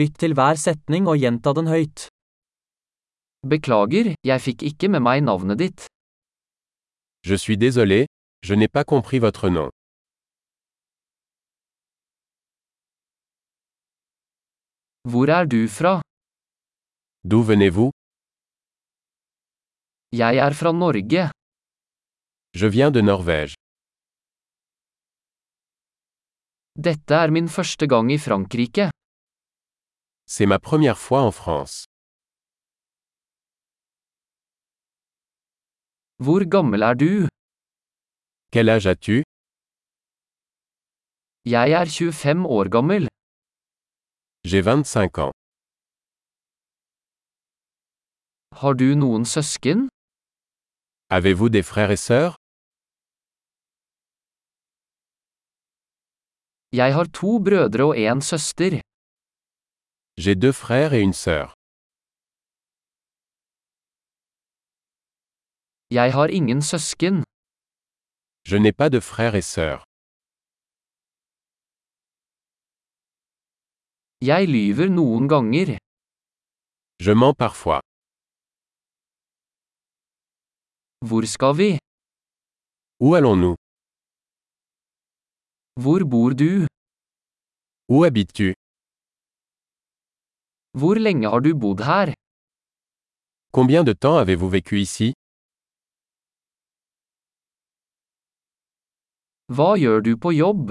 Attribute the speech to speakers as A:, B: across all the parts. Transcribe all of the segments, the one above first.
A: Lytt til hver setning og gjenta den høyt. Beklager, jeg fikk ikke med meg navnet ditt.
B: Je suis désolé, je n'ai pas compris votre nom.
A: Hvor er du fra?
B: D'où venez-vous
A: Jeg er fra Norge.
B: Je viens de Norvège.
A: Dette er min første gang i Frankrike.
B: C'est ma première fois en France.
A: Hvor gammel er du?
B: Quel âge as-tu
A: Jeg er 25 år gammel.
B: J'ai 25 ans.
A: Har du noen søsken?
B: Avez-vous des frères et sœurs
A: Jeg har to brødre og en søster.
B: J'ai deux frères et une sœur.
A: Jeg har ingen søsken.
B: Je n'ai pas de frères et sœurs.
A: Jeg lyver noen ganger.
B: Je mens parfois.
A: Hvor skal vi?
B: Où allons-nous
A: Hvor bor du?
B: Où habites-tu
A: Hvor lenge har du bodd her?
B: Combien de temps avez-vous vécu ici
A: Hva gjør du på jobb?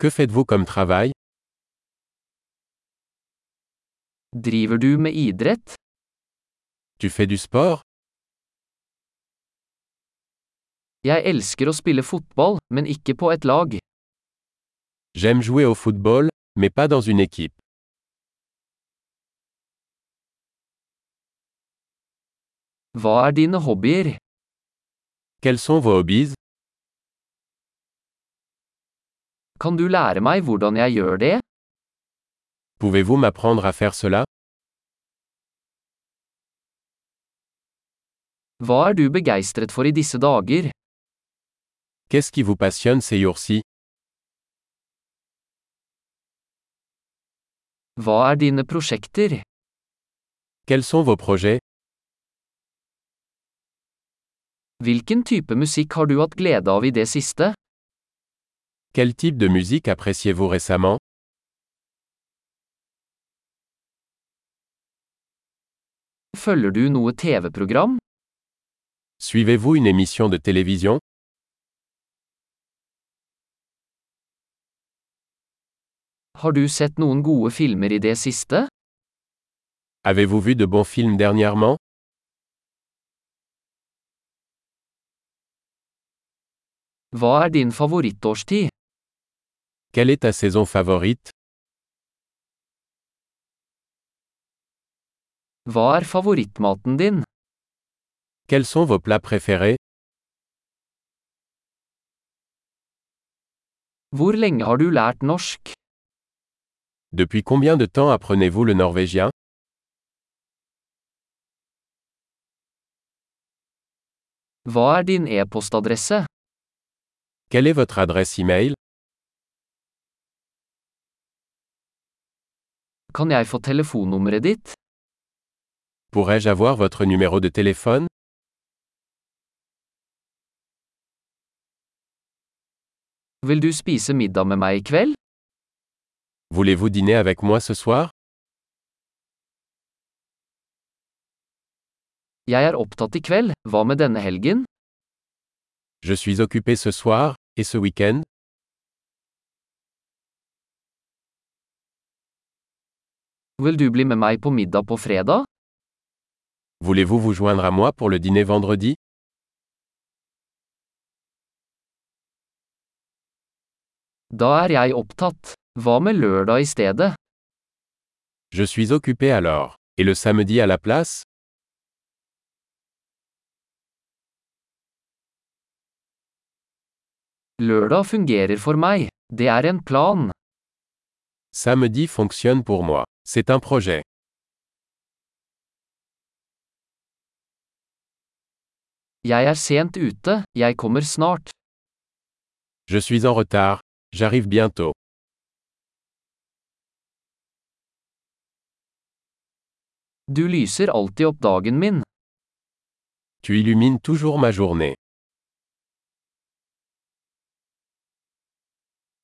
B: Que faites-vous comme travail
A: Driver du med idrett?
B: Tu fais du sport
A: Jeg elsker å spille fotball, men ikke på et lag.
B: J'aime jouer au football, mais pas dans une équipe.
A: Hva er dine hobbyer?
B: Quels sont vos hobbies
A: Kan du lære meg hvordan jeg gjør det?
B: Pouvez-vous m'apprendre à faire cela
A: Hva er du begeistret for i disse dager?
B: Qu'est-ce qui vous passionne ces jours-ci
A: Hva er dine prosjekter?
B: Quels sont vos projets
A: Hvilken type musikk har du hatt glede av i det siste?
B: Quel type de musique appréciez-vous récemment
A: Følger du noe TV-program?
B: Suivez-vous une émission de télévision
A: Har du sett noen gode filmer i det siste?
B: Avez-vous vu de bons films dernièrement
A: Hva er din favorittårstid?
B: Quelle est ta saison favorite
A: Hva er favorittmaten din?
B: Quels sont vos plats préférés
A: Hvor lenge har du lært norsk?
B: Depuis combien de temps apprenez-vous le norvégien
A: Hva er din e-postadresse?
B: Quelle est votre adresse e-mail
A: Kan jeg få telefonnummeret ditt?
B: Pourrais-je avoir votre numéro de téléphone
A: Vil du spise middag med meg i kveld?
B: Voulez-vous dîner avec moi ce soir
A: Jeg er opptatt i kveld, hva med denne helgen?
B: Je suis occupé ce soir, et ce week-end
A: Vil du bli med meg på middag på fredag?
B: Voulez-vous vous joindre à moi pour le dîner vendredi
A: Da er jeg opptatt. Hva med lørdag i stedet?
B: Je suis occupé alors. Et le samedi à la place
A: Lørdag fungerer for meg. Det er en plan.
B: Samedi fonctionne pour moi. C'est un projet.
A: Jeg er sent ute, jeg kommer snart.
B: Je suis en retard. J'arrive bientôt.
A: Du lyser alltid opp dagen min.
B: Tu illumines toujours ma journée.